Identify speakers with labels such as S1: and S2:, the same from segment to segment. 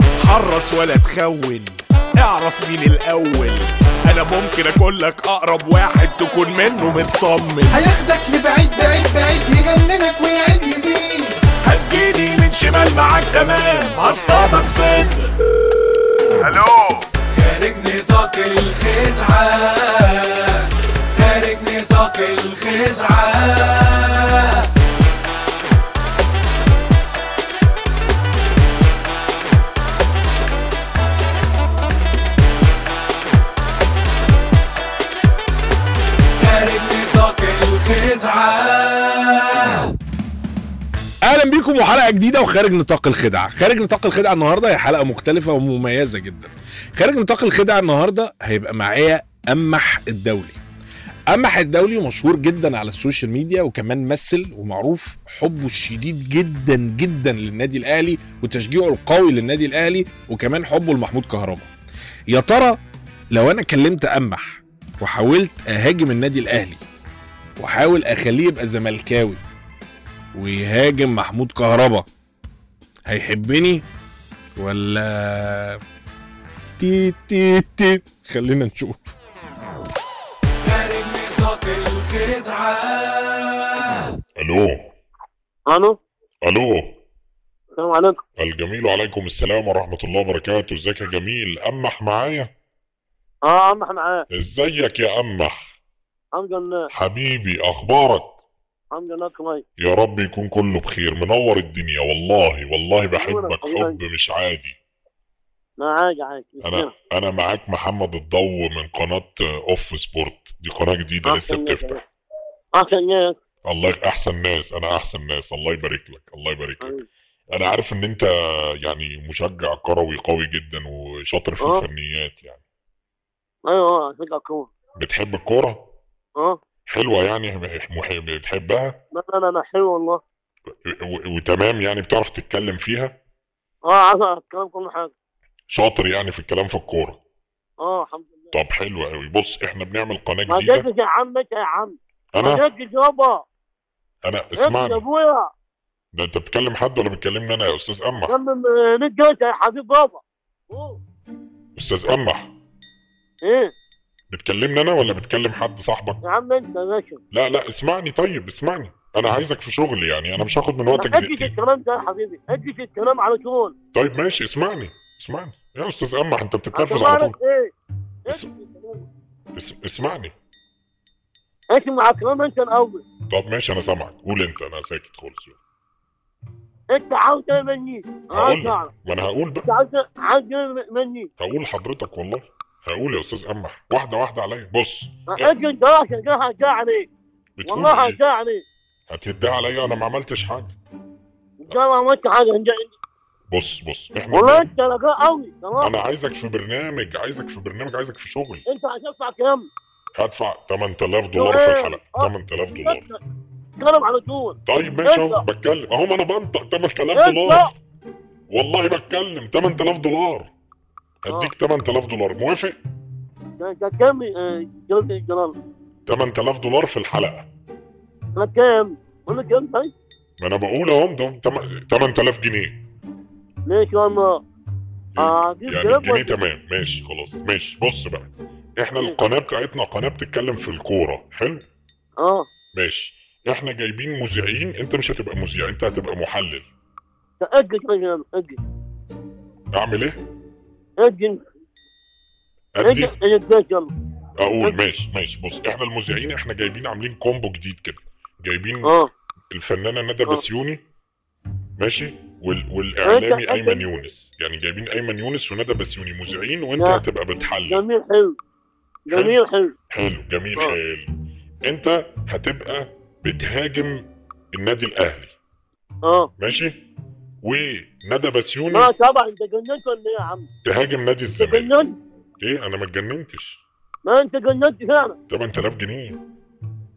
S1: تتهرس ولا تخون اعرف مين الاول انا ممكن اكون لك اقرب واحد تكون منه مطمن
S2: هياخدك لبعيد بعيد بعيد يجننك ويعيد يزيد
S1: هتجيني من شمال معاك تمام هصطادك صدر الو
S2: خارج نطاق الخدعة خارج نطاق الخدعة خارج نطاق الخدعة
S3: اهلا بيكم وحلقه جديده وخارج نطاق الخدعه خارج نطاق الخدعه النهارده هي حلقه مختلفه ومميزه جدا خارج نطاق الخدعه النهارده هيبقى معايا امح الدولي امح الدولي مشهور جدا على السوشيال ميديا وكمان ممثل ومعروف حبه الشديد جدا جدا للنادي الاهلي وتشجيعه القوي للنادي الاهلي وكمان حبه لمحمود كهربا يا ترى لو انا كلمت امح وحاولت اهاجم النادي الاهلي واحاول اخليه يبقى زملكاوي ويهاجم محمود كهربا هيحبني ولا تي تي تي خلينا نشوف
S2: خارج نطاق الخدعة
S4: الو
S5: الو
S4: الو
S5: السلام عليكم
S4: الجميل وعليكم السلام ورحمه الله وبركاته ازيك يا جميل امح معايا
S5: اه عم احنا معاك
S4: ازيك يا امح
S5: عم جنات
S4: حبيبي اخبارك
S5: عم جنات كويس
S4: يا رب يكون كله بخير منور الدنيا والله والله بحبك حب مش عادي
S5: معاك عادي مش
S4: انا
S5: كده.
S4: انا معاك محمد الضو من قناه اوف سبورت دي قناه جديده لسه
S5: أحسن
S4: بتفتح
S5: ناس. احسن ناس
S4: الله يخ- احسن ناس انا احسن ناس الله يبارك لك الله يبارك
S5: أيوة.
S4: لك انا عارف ان انت يعني مشجع كروي قوي جدا وشاطر في
S5: آه.
S4: الفنيات يعني
S5: ايوه اشجع كوره
S4: بتحب الكوره
S5: اه
S4: حلوة يعني مح- بتحبها
S5: لا لا لا لا حلو والله
S4: و- وتمام يعني بتعرف تتكلم فيها
S5: اه عارف الكلام كل حاجه
S4: شاطر يعني في الكلام في الكورة
S5: اه الحمد لله
S4: طب حلو قوي بص احنا بنعمل قناة
S5: ما
S4: جديدة
S5: جدش يا عم انت يا عم ما
S4: انا
S5: جدش يابا
S4: انا
S5: جدش يا
S4: اسمعني
S5: ابويا
S4: ده انت بتكلم حد ولا بتكلمني انا يا استاذ امح
S5: جنب م- 100 جوز آه، يا حبيب بابا أوه.
S4: استاذ امح
S5: ايه
S4: بتكلمني انا ولا بتكلم حد صاحبك
S5: يا عم انت يا باشا
S4: لا لا اسمعني طيب اسمعني انا عايزك في شغل يعني انا مش هاخد من وقتك
S5: ما تجيش
S4: دقيقتين
S5: الكلام ده يا حبيبي ما تجيش الكلام على طول
S4: طيب ماشي اسمعني اسمعني يا استاذ امح انت بتتنرفز على طول
S5: هتبقى ايه
S4: بس-
S5: أدي في الكلام.
S4: اس- اسمعني
S5: اسمع الكلام انت الاول
S4: طب ماشي انا سامعك قول انت انا ساكت خالص
S5: انت عاوز ايه مني؟
S4: هقول
S5: عاوز
S4: لك
S5: اعرف
S4: ما انا هقول
S5: انت
S4: بقى
S5: عاوز عاوز ايه مني؟
S4: هقول لحضرتك والله هقول يا استاذ امح واحده واحده عليا بص إيه،
S5: اجي انت راسك ده هرجع عليك
S4: بتقول
S5: آه، والله
S4: ايه
S5: هرجع عليك
S4: هتهدها عليا انا ما عملتش حاجه
S5: ان شاء الله ما انت حاجه إنت-
S4: بصس بص احنا
S5: والله انت رجاء قوي إيه؟ تمام
S4: انا عايزك في برنامج عايزك في برنامج عايزك في شغل
S5: انت هتدفع كام؟
S4: هدفع 8000 دولار في
S5: آه.
S4: الحلقه 8000 دولار
S5: كلام على طول
S4: طيب ماشي اهو
S5: ابدأ.
S4: بتكلم اهو ما انا بنطق 8000
S5: ابدأ.
S4: دولار والله بتكلم 8000 دولار هديك
S5: آه.
S4: 8000 دولار موافق
S5: ده ده كام آه، جلد الجلال؟
S4: 8000 دولار في الحلقه
S5: ده كام؟ قول لي كام طيب؟
S4: ما انا بقول اهو ده 8000 جنيه
S5: ليش يا الله؟ آه، دي
S4: يعني
S5: الجنيه
S4: الجنيه
S5: ولا-
S4: تمام ماشي خلاص ماشي بص بقى احنا
S5: ماشي.
S4: القناه بتاعتنا قناه بتتكلم في الكوره حلو
S5: اه
S4: ماشي احنا جايبين مذيعين انت مش هتبقى مذيع انت هتبقى محلل
S5: ده اجي يا جلال اجي
S4: اعمل ايه
S5: اجي اجي
S4: ادي
S5: اجي البيت يلا
S4: اقول ماشي ماشي بص احنا المذيعين احنا جايبين عاملين كومبو جديد كده جايبين
S5: اه
S4: الفنانه ندى
S5: آه.
S4: بسيوني ماشي وال... والاعلامي
S5: ماشي.
S4: ايمن يونس يعني جايبين ايمن يونس وندى بسيوني مذيعين وانت
S5: لا.
S4: هتبقى بتحلل
S5: جميل حلو جميل حلو
S4: حلو جميل
S5: آه.
S4: حلو انت هتبقى بتهاجم النادي الاهلي
S5: اه
S4: ماشي وندى بسيوني
S5: ما طبعا انت جننت ولا ايه يا عم؟
S4: تهاجم نادي
S5: انت
S4: الزمالك
S5: جننت
S4: ايه انا ما اتجننتش
S5: ما انت جننت فعلا
S4: 8000 جنيه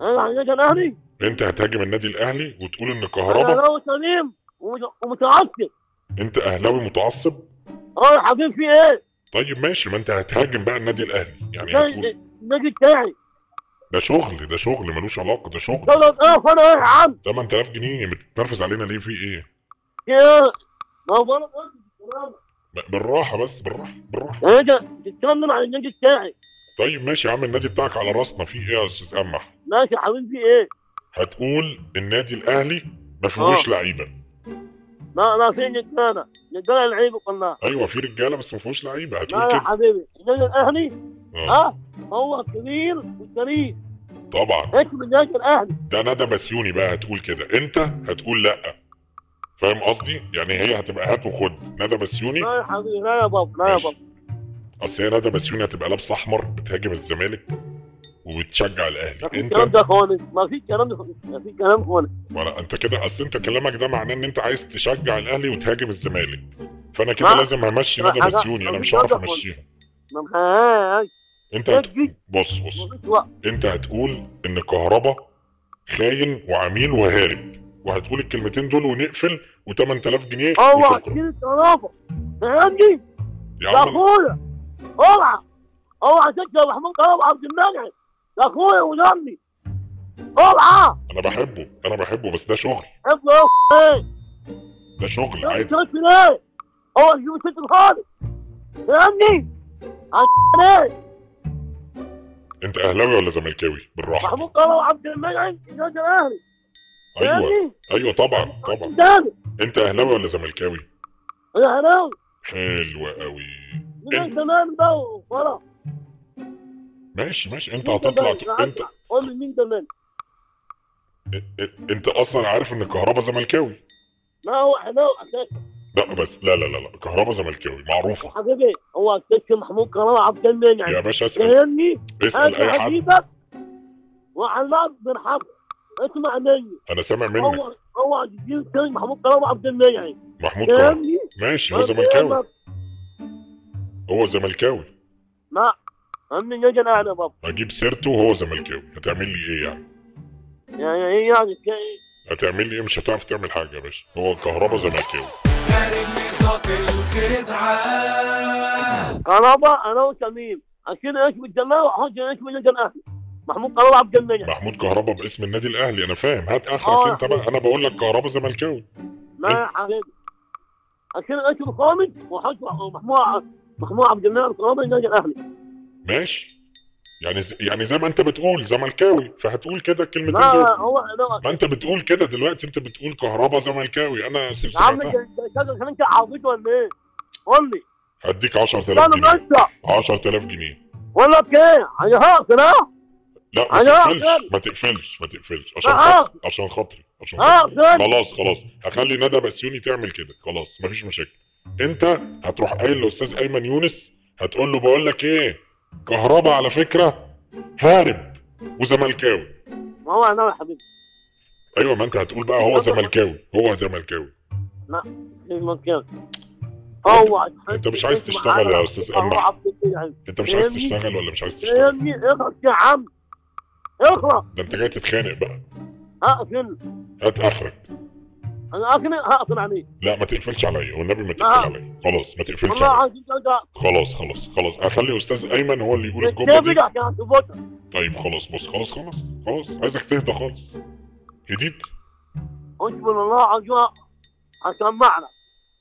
S5: انا عندي الاهلي
S4: انت هتهاجم النادي الاهلي وتقول ان
S5: انا
S4: كهربا
S5: لو سليم ومت- ومتعصب
S4: انت اهلاوي متعصب
S5: اه يا حبيبي في ايه؟
S4: طيب ماشي ما انت هتهاجم بقى النادي الاهلي يعني
S5: ده
S4: هتقول
S5: النادي بتاعي
S4: ده شغل ده شغل ملوش علاقه ده شغل
S5: غلط اه فانا ايه يا عم؟
S4: إيه؟ 8000 جنيه بتتنرفز علينا ليه في ايه
S5: في ايه؟ ما هو غلط
S4: ب- بالراحه بس بالراحه بالراحه
S5: يعني انت تتكلم عن النادي بتاعي
S4: طيب ماشي يا عم النادي بتاعك على راسنا فيه ايه يا استاذ امح
S5: ماشي يا حبيبي في ايه؟
S4: هتقول النادي الاهلي ما فيهوش لعيبه
S5: ما ما في رجاله رجاله لعيبه كلها
S4: ايوه في رجاله بس ما فيهوش لعيبه
S5: لا
S4: هتقول
S5: يا
S4: كده
S5: حبيبي النادي الاهلي
S4: آه.
S5: ها هو كبير وشريف
S4: طبعا
S5: اسم النادي الاهلي
S4: ده ندى بسيوني بقى هتقول كده انت هتقول لا فاهم قصدي يعني هي هتبقى هات وخد ندى بسيوني
S5: لا يا حبيبي لا يا بابا لا يا
S4: ماشي.
S5: بابا
S4: اصل هي ندى بسيوني هتبقى لابسه احمر بتهاجم الزمالك وبتشجع
S5: ما
S4: الاهلي
S5: فيش الكلام
S4: انت
S5: ده خالص ما فيش الكلام ده خالص. ما فيش كلام خالص
S4: ولا انت كده اصل انت كلامك ده معناه ان انت عايز تشجع الاهلي وتهاجم الزمالك فانا كده
S5: ما-
S4: لازم همشي
S5: ما
S4: ندى
S5: حاجة-
S4: بسيوني انا
S5: ما
S4: مش
S5: فيش
S4: هعرف
S5: وجه خالص.
S4: امشيها
S5: ما آه، مخيش
S4: انت
S5: ما
S4: هت...
S5: فيش
S4: بص بص
S5: ما فيش وقت
S4: انت هتقول ان كهربا خاين وعميل وهارب وهتقول الكلمتين دول ونقفل و8000 جنيه
S5: هو
S4: وشكرا
S5: عشان الصرافه فهمني
S4: يا
S5: يا
S4: عم
S5: اخويا اوعى اوعى تكتب محمود طلب عبد المنعم يا اخويا ودمي اوعى
S4: انا بحبه انا بحبه بس ده شغل
S5: ابني يا اخويا
S4: ده شغل
S5: ليه؟
S4: عادي
S5: بتشتغل في ليه؟ هو يجيب ست خالص فهمني عن ليه؟
S4: انت اهلاوي ولا زملكاوي بالراحه
S5: محمود طلب عبد المنعم النادي الاهلي
S4: ايوه
S5: فهمني؟
S4: ايوه طبعا طبعا
S5: تاني
S4: انت اهلاوي ولا زملكاوي
S5: الاهلاوي
S4: حلو قوي
S5: من
S4: انت-
S5: زمان بقى وخلاص
S4: ماشي ماشي انت
S5: مين ده
S4: هتطلع
S5: مال؟
S4: ت-
S5: أنا
S4: انت
S5: هطلع. قول لي مين ده مال؟
S4: ا- انت اصلا عارف ان كهربا زملكاوي
S5: ما هو اهلاوي اساسا
S4: لا بس لا لا لا لا كهربا زملكاوي معروفه
S5: حبيبي هو اساسا محمود كرامه عبد
S4: يا
S5: المنعم
S4: باشا اسال
S5: فهمني؟
S4: اسال اي
S5: هات
S4: حد
S5: حبيبك وعلاق بن حفص اسمع مني
S4: انا سامع منك
S5: هو هو جيل تاني محمود كرامه عبد المنعم
S4: محمود كهربا
S5: فهمني؟
S4: ماشي هو زملكاوي هو زملكاوي
S5: لا هم النادي الاهلي بابا
S4: هجيب سيرته وهو زملكاوي هتعمل لي ايه يعني
S5: يعني ايه يعني كده
S4: هتعمل لي ايه مش هتعرف تعمل حاجه يا باشا هو كهربا زملكاوي
S2: خارج نطاق الخدعة
S5: قرابة انا وتميم عشان اسم الجماعة وحط اسم النادي الاهلي محمود قرابة عبد المنعم
S4: محمود كهربا باسم النادي الاهلي انا فاهم هات
S5: آه.
S4: اخرك انت بقى انا بقول لك كهربا زملكاوي
S5: لا
S4: إيه؟
S5: يا حبيبي عشان اسم الخامس وحط محمود محمود عبد المنعم قرابة النادي الاهلي
S4: ماشي يعني ز... يعني زي ما انت بتقول زملكاوي فهتقول كده الكلمتين دول
S5: لا هو لا
S4: ما انت بتقول كده دلوقتي انت بتقول كهربا زملكاوي انا س-
S5: يا عم
S4: سمعتها
S5: انت أنت- عشان انت عبيط ولا ايه؟ قول لي
S4: هديك 10000
S5: انا
S4: جنيه
S5: ماشي
S4: 10000 جنيه
S5: ولا ايه؟ انا هاقف ها
S4: لا ما
S5: أيوة،
S4: تقفلش
S5: أقفل.
S4: ما تقفلش ما تقفلش عشان
S5: أه.
S4: خاطري عشان خاطري عشان خاطري
S5: هاقف
S4: خلاص خلاص هخلي ندى بسيوني تعمل كده خلاص مفيش مشاكل انت هتروح قايل للاستاذ ايمن يونس هتقول له بقول لك ايه كهربا على فكره هارب وزملكاوي
S5: ما هو انا يا حبيبي
S4: ايوه ما انت هتقول بقى هو زملكاوي هو زملكاوي
S5: مش ممكن هو
S4: أنت مش عايز تشتغل يا أستاذ
S5: محمود
S4: أمل.
S5: عبد المنعم
S4: انت مش عايز
S5: فاهمني؟
S4: تشتغل ولا مش عايز
S5: يعني. يا
S4: تشتغل
S5: ابني اخلص يا عم اخلص
S4: ده انت جاي تتخانق بقى
S5: هقفل
S4: هات اخرك
S5: انا اقفل هقفل عليك
S4: لا ما تقفلش عليا والنبي ما تقفل
S5: آه.
S4: عليا خلاص ما تقفلش
S5: والله
S4: عليا
S5: عايز ارجع
S4: خلاص خلاص خلاص هخلي استاذ ايمن هو اللي يقول الجمله
S5: السيف
S4: دي
S5: يرجع كان ظبطها
S4: طيب خلاص بص خلاص خلاص خلاص عايزك تهدى خالص هديت
S5: اصبر الله عز وجل هسمعنا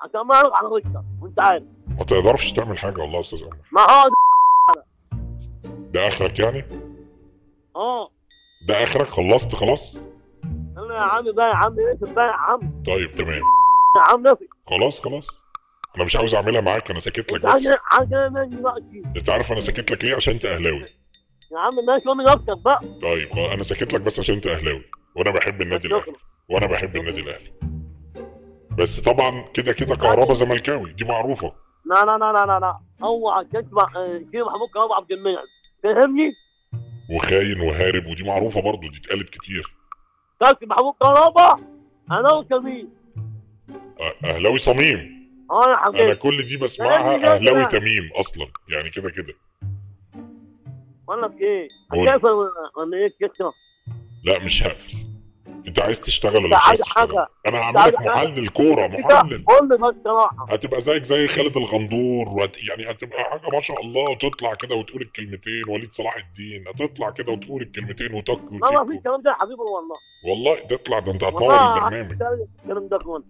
S5: هسمعك على وشك وانت عارف
S4: ما تقدرش تعمل حاجه والله يا استاذ عمر
S5: ما هو ده-
S4: ده اخرك يعني
S5: اه
S4: ده اخرك خلصت خلاص
S5: يلا يا عم بقى يا عم اقفل بقى يا عم
S4: طيب تمام
S5: يا عم نفسي
S4: خلاص خلاص انا مش عاوز اعملها معاك انا ساكت لك بس
S5: عايز عايز مني دلوقتي
S4: انت عارف انا ساكت لك ليه عشان انت اهلاوي
S5: يا عم ماشي قوم نفسك بقى
S4: طيب خلاص انا ساكت لك بس عشان انت اهلاوي وانا بحب النادي الاهلي وانا بحب النادي الاهلي بس طبعا كده كده كهربا زملكاوي دي معروفه
S5: لا لا لا لا لا لا اوعى تسمع آه، كده محمود كهرباء عبد المنعم فاهمني؟
S4: وخاين وهارب ودي معروفه برضو دي اتقالت كتير
S5: كابتن محمود كهرباء انا وسمير
S4: أه- اهلاوي صميم
S5: اه يا
S4: انا
S5: حبيبي
S4: كل دي بسمعها اهلاوي تميم اصلا يعني كده كده
S5: بقول لك ايه
S4: قول.
S5: هتقفل ولا- ولا ايه القصه؟
S4: لا مش هقفل انت عايز تشتغل ولا
S5: لا،
S4: مش عايز
S5: عايز
S4: تشتغل
S5: حاجة.
S4: انا هعملك
S5: عايز حاجة.
S4: محلل كوره محلل
S5: قول لي بس صراحه
S4: هتبقى زيك زي خالد الغندور وهت... يعني هتبقى حاجه ما شاء الله وتطلع كده وتقول الكلمتين وليد صلاح الدين هتطلع كده وتقول الكلمتين وتك
S5: ما ما في
S4: وتك
S5: الكلام ده يا حبيبي والله
S4: والله تطلع ده انت هتنور
S5: والله
S4: البرنامج
S5: عايز أتكلم الكلام ده كله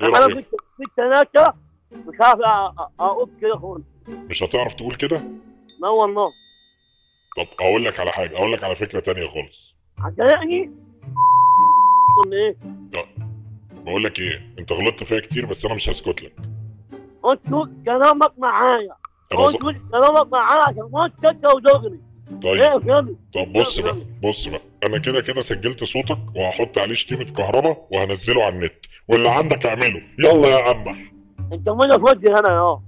S4: ايه
S5: انا
S4: رايك
S5: في في التلاتة مش عارف أ- أ- اقول كده خالص
S4: مش هتعرف تقول كده
S5: لا والله
S4: طب اقول لك على حاجه اقول لك على فكره تانية خالص
S5: هتضايقني قول لي ايه
S4: لا بقول لك ايه انت غلطت فيها كتير بس انا مش هسكت لك
S5: قلت له كلامك معايا
S4: انا ز...
S5: قلت له كلامك معايا عشان ما تشجع ودغري
S4: طيب
S5: ايه فهمت
S4: طب بص بقى بص بقى انا كده كده سجلت صوتك وهحط عليه شتيمه كهرباء وهنزله على النت واللي عندك اعمله يلا يا قمح
S5: انت مين فاضي هنا يا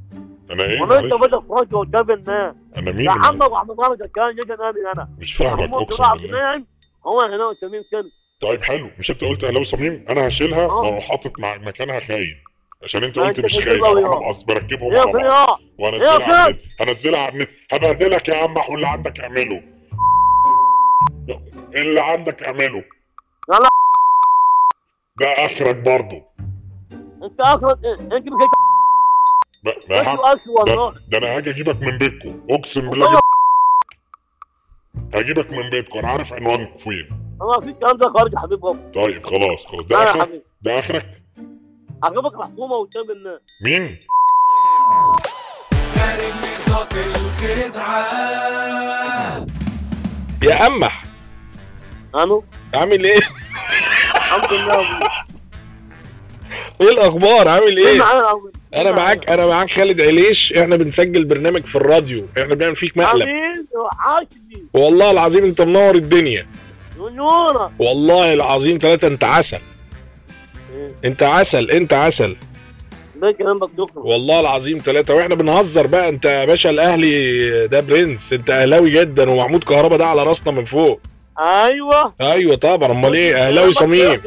S4: انا ايه
S5: والله انت
S4: معلش؟
S5: مين فاضي قدام الناس
S4: انا
S5: يا عم
S4: مين
S5: ابو عبد الغني ده كان يجي نادي هنا
S4: مش فاهمك
S5: محمود
S4: اقسم
S5: بن عبد
S4: بالله
S5: المنعم هو هنا وتميم كده
S4: طيب حلو مش انت قلت اهلاوي صميم انا هشيلها
S5: اه.
S4: واروح حاطط مع مكانها خاين عشان انت
S5: لا،
S4: قلت
S5: انت
S4: مش
S5: كده
S4: خاين
S5: قوي
S4: انا
S5: اه.
S4: بقص- بركبهم
S5: ايه
S4: على
S5: فين
S4: بعض
S5: يا
S4: وهنزلها
S5: ايه يا
S4: على النت هنزلها على النت هبهدلك يا عم واللي عندك اعمله اللي عندك اعمله
S5: لا لا.
S4: ده اخرك برضه
S5: انت اخرك ايه انت مش
S4: بقى- بقى
S5: هتجيب
S4: هعمل-
S5: اصل والله
S4: ده, ده انا هاجي اجيبك من بيتكم اقسم بالله
S5: والله
S4: أجيب- هجيبك من بيتكم انا عارف عنوانك فين
S5: ما في الكلام ده خارج يا حبيب ربي
S4: طيب خلاص خلاص ده
S5: انا يا
S4: اخرك
S5: حبيبي
S4: ده اخرك
S5: عجبك الحكومه قدام الناس
S4: مين
S2: خارج نطاق الخدعة
S3: يا امح
S5: انا
S3: عامل ايه؟
S5: الحمد لله والله.
S3: ايه الاخبار؟ عامل
S5: مين
S3: ايه؟
S5: إيه معايا الاول
S3: انا معاك انا معاك خالد عليش احنا بنسجل برنامج في الراديو احنا بنعمل فيك مقلب
S5: حبيبي وحشني
S3: والله العظيم انت منور الدنيا
S5: ونورك
S3: والله العظيم ثلاثة انت عسل
S5: ايه
S3: انت عسل انت عسل
S5: ده كلامك دكتور
S3: والله العظيم ثلاثة واحنا بنهزر بقى انت يا باشا الاهلي ده برنس انت اهلاوي جدا ومحمود كهربا ده على راسنا من فوق
S5: ايوه
S3: ايوه طبعا امال ايه اهلاوي صميم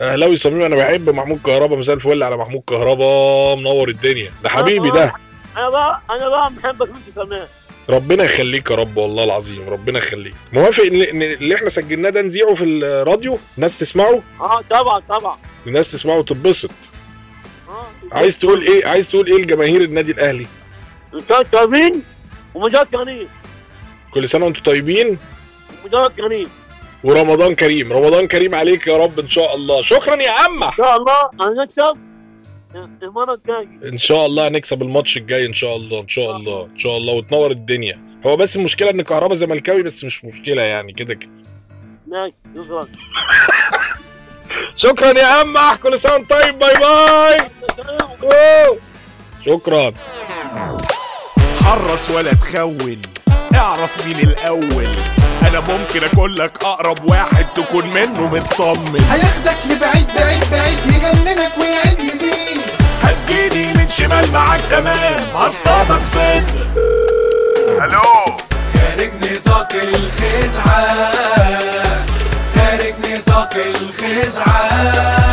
S3: اهلاوي صميم انا بحب محمود كهربا مساء الفل على محمود كهربا منور الدنيا ده حبيبي
S5: آه.
S3: ده
S5: انا بقى انا بقى محبك انت كمان
S3: ربنا يخليك يا رب والله العظيم ربنا يخليك موافق ان إن اللي احنا سجلناه ده نذيعه في الراديو الناس تسمعه
S5: اه طبعا طبعا
S3: الناس تسمعه وتتبسط
S5: اه
S3: عايز تقول ايه عايز تقول ايه لجماهير النادي الاهلي
S5: مشجعين ومشجعين
S3: كل سنه وانتم طيبين
S5: ومشجعين
S3: ورمضان كريم رمضان كريم عليك يا رب ان شاء الله شكرا يا عمه
S5: ان شاء الله هنكسب المره الجايه
S3: ان شاء الله هنكسب الماتش الجاي ان شاء الله ان شاء الله ان شاء الله وتنور الدنيا هو بس المشكله ان كهربا زملكاوي بس مش مشكله يعني كده كده
S5: ماشي شكرا
S3: شكرا يا عمه كل سنه وأنت طيب باي باي أوه. شكرا
S1: حرص ولا تخون اعرف مين الاول انا ممكن اكون لك اقرب واحد تكون منه مطمن
S2: هياخدك لبعيد بعيد بعيد يجننك ويعيد يزيد
S1: هتجيني من شمال معاك تمام هصطادك صد الو
S2: خارج نطاق الخدعة خارج نطاق الخدعة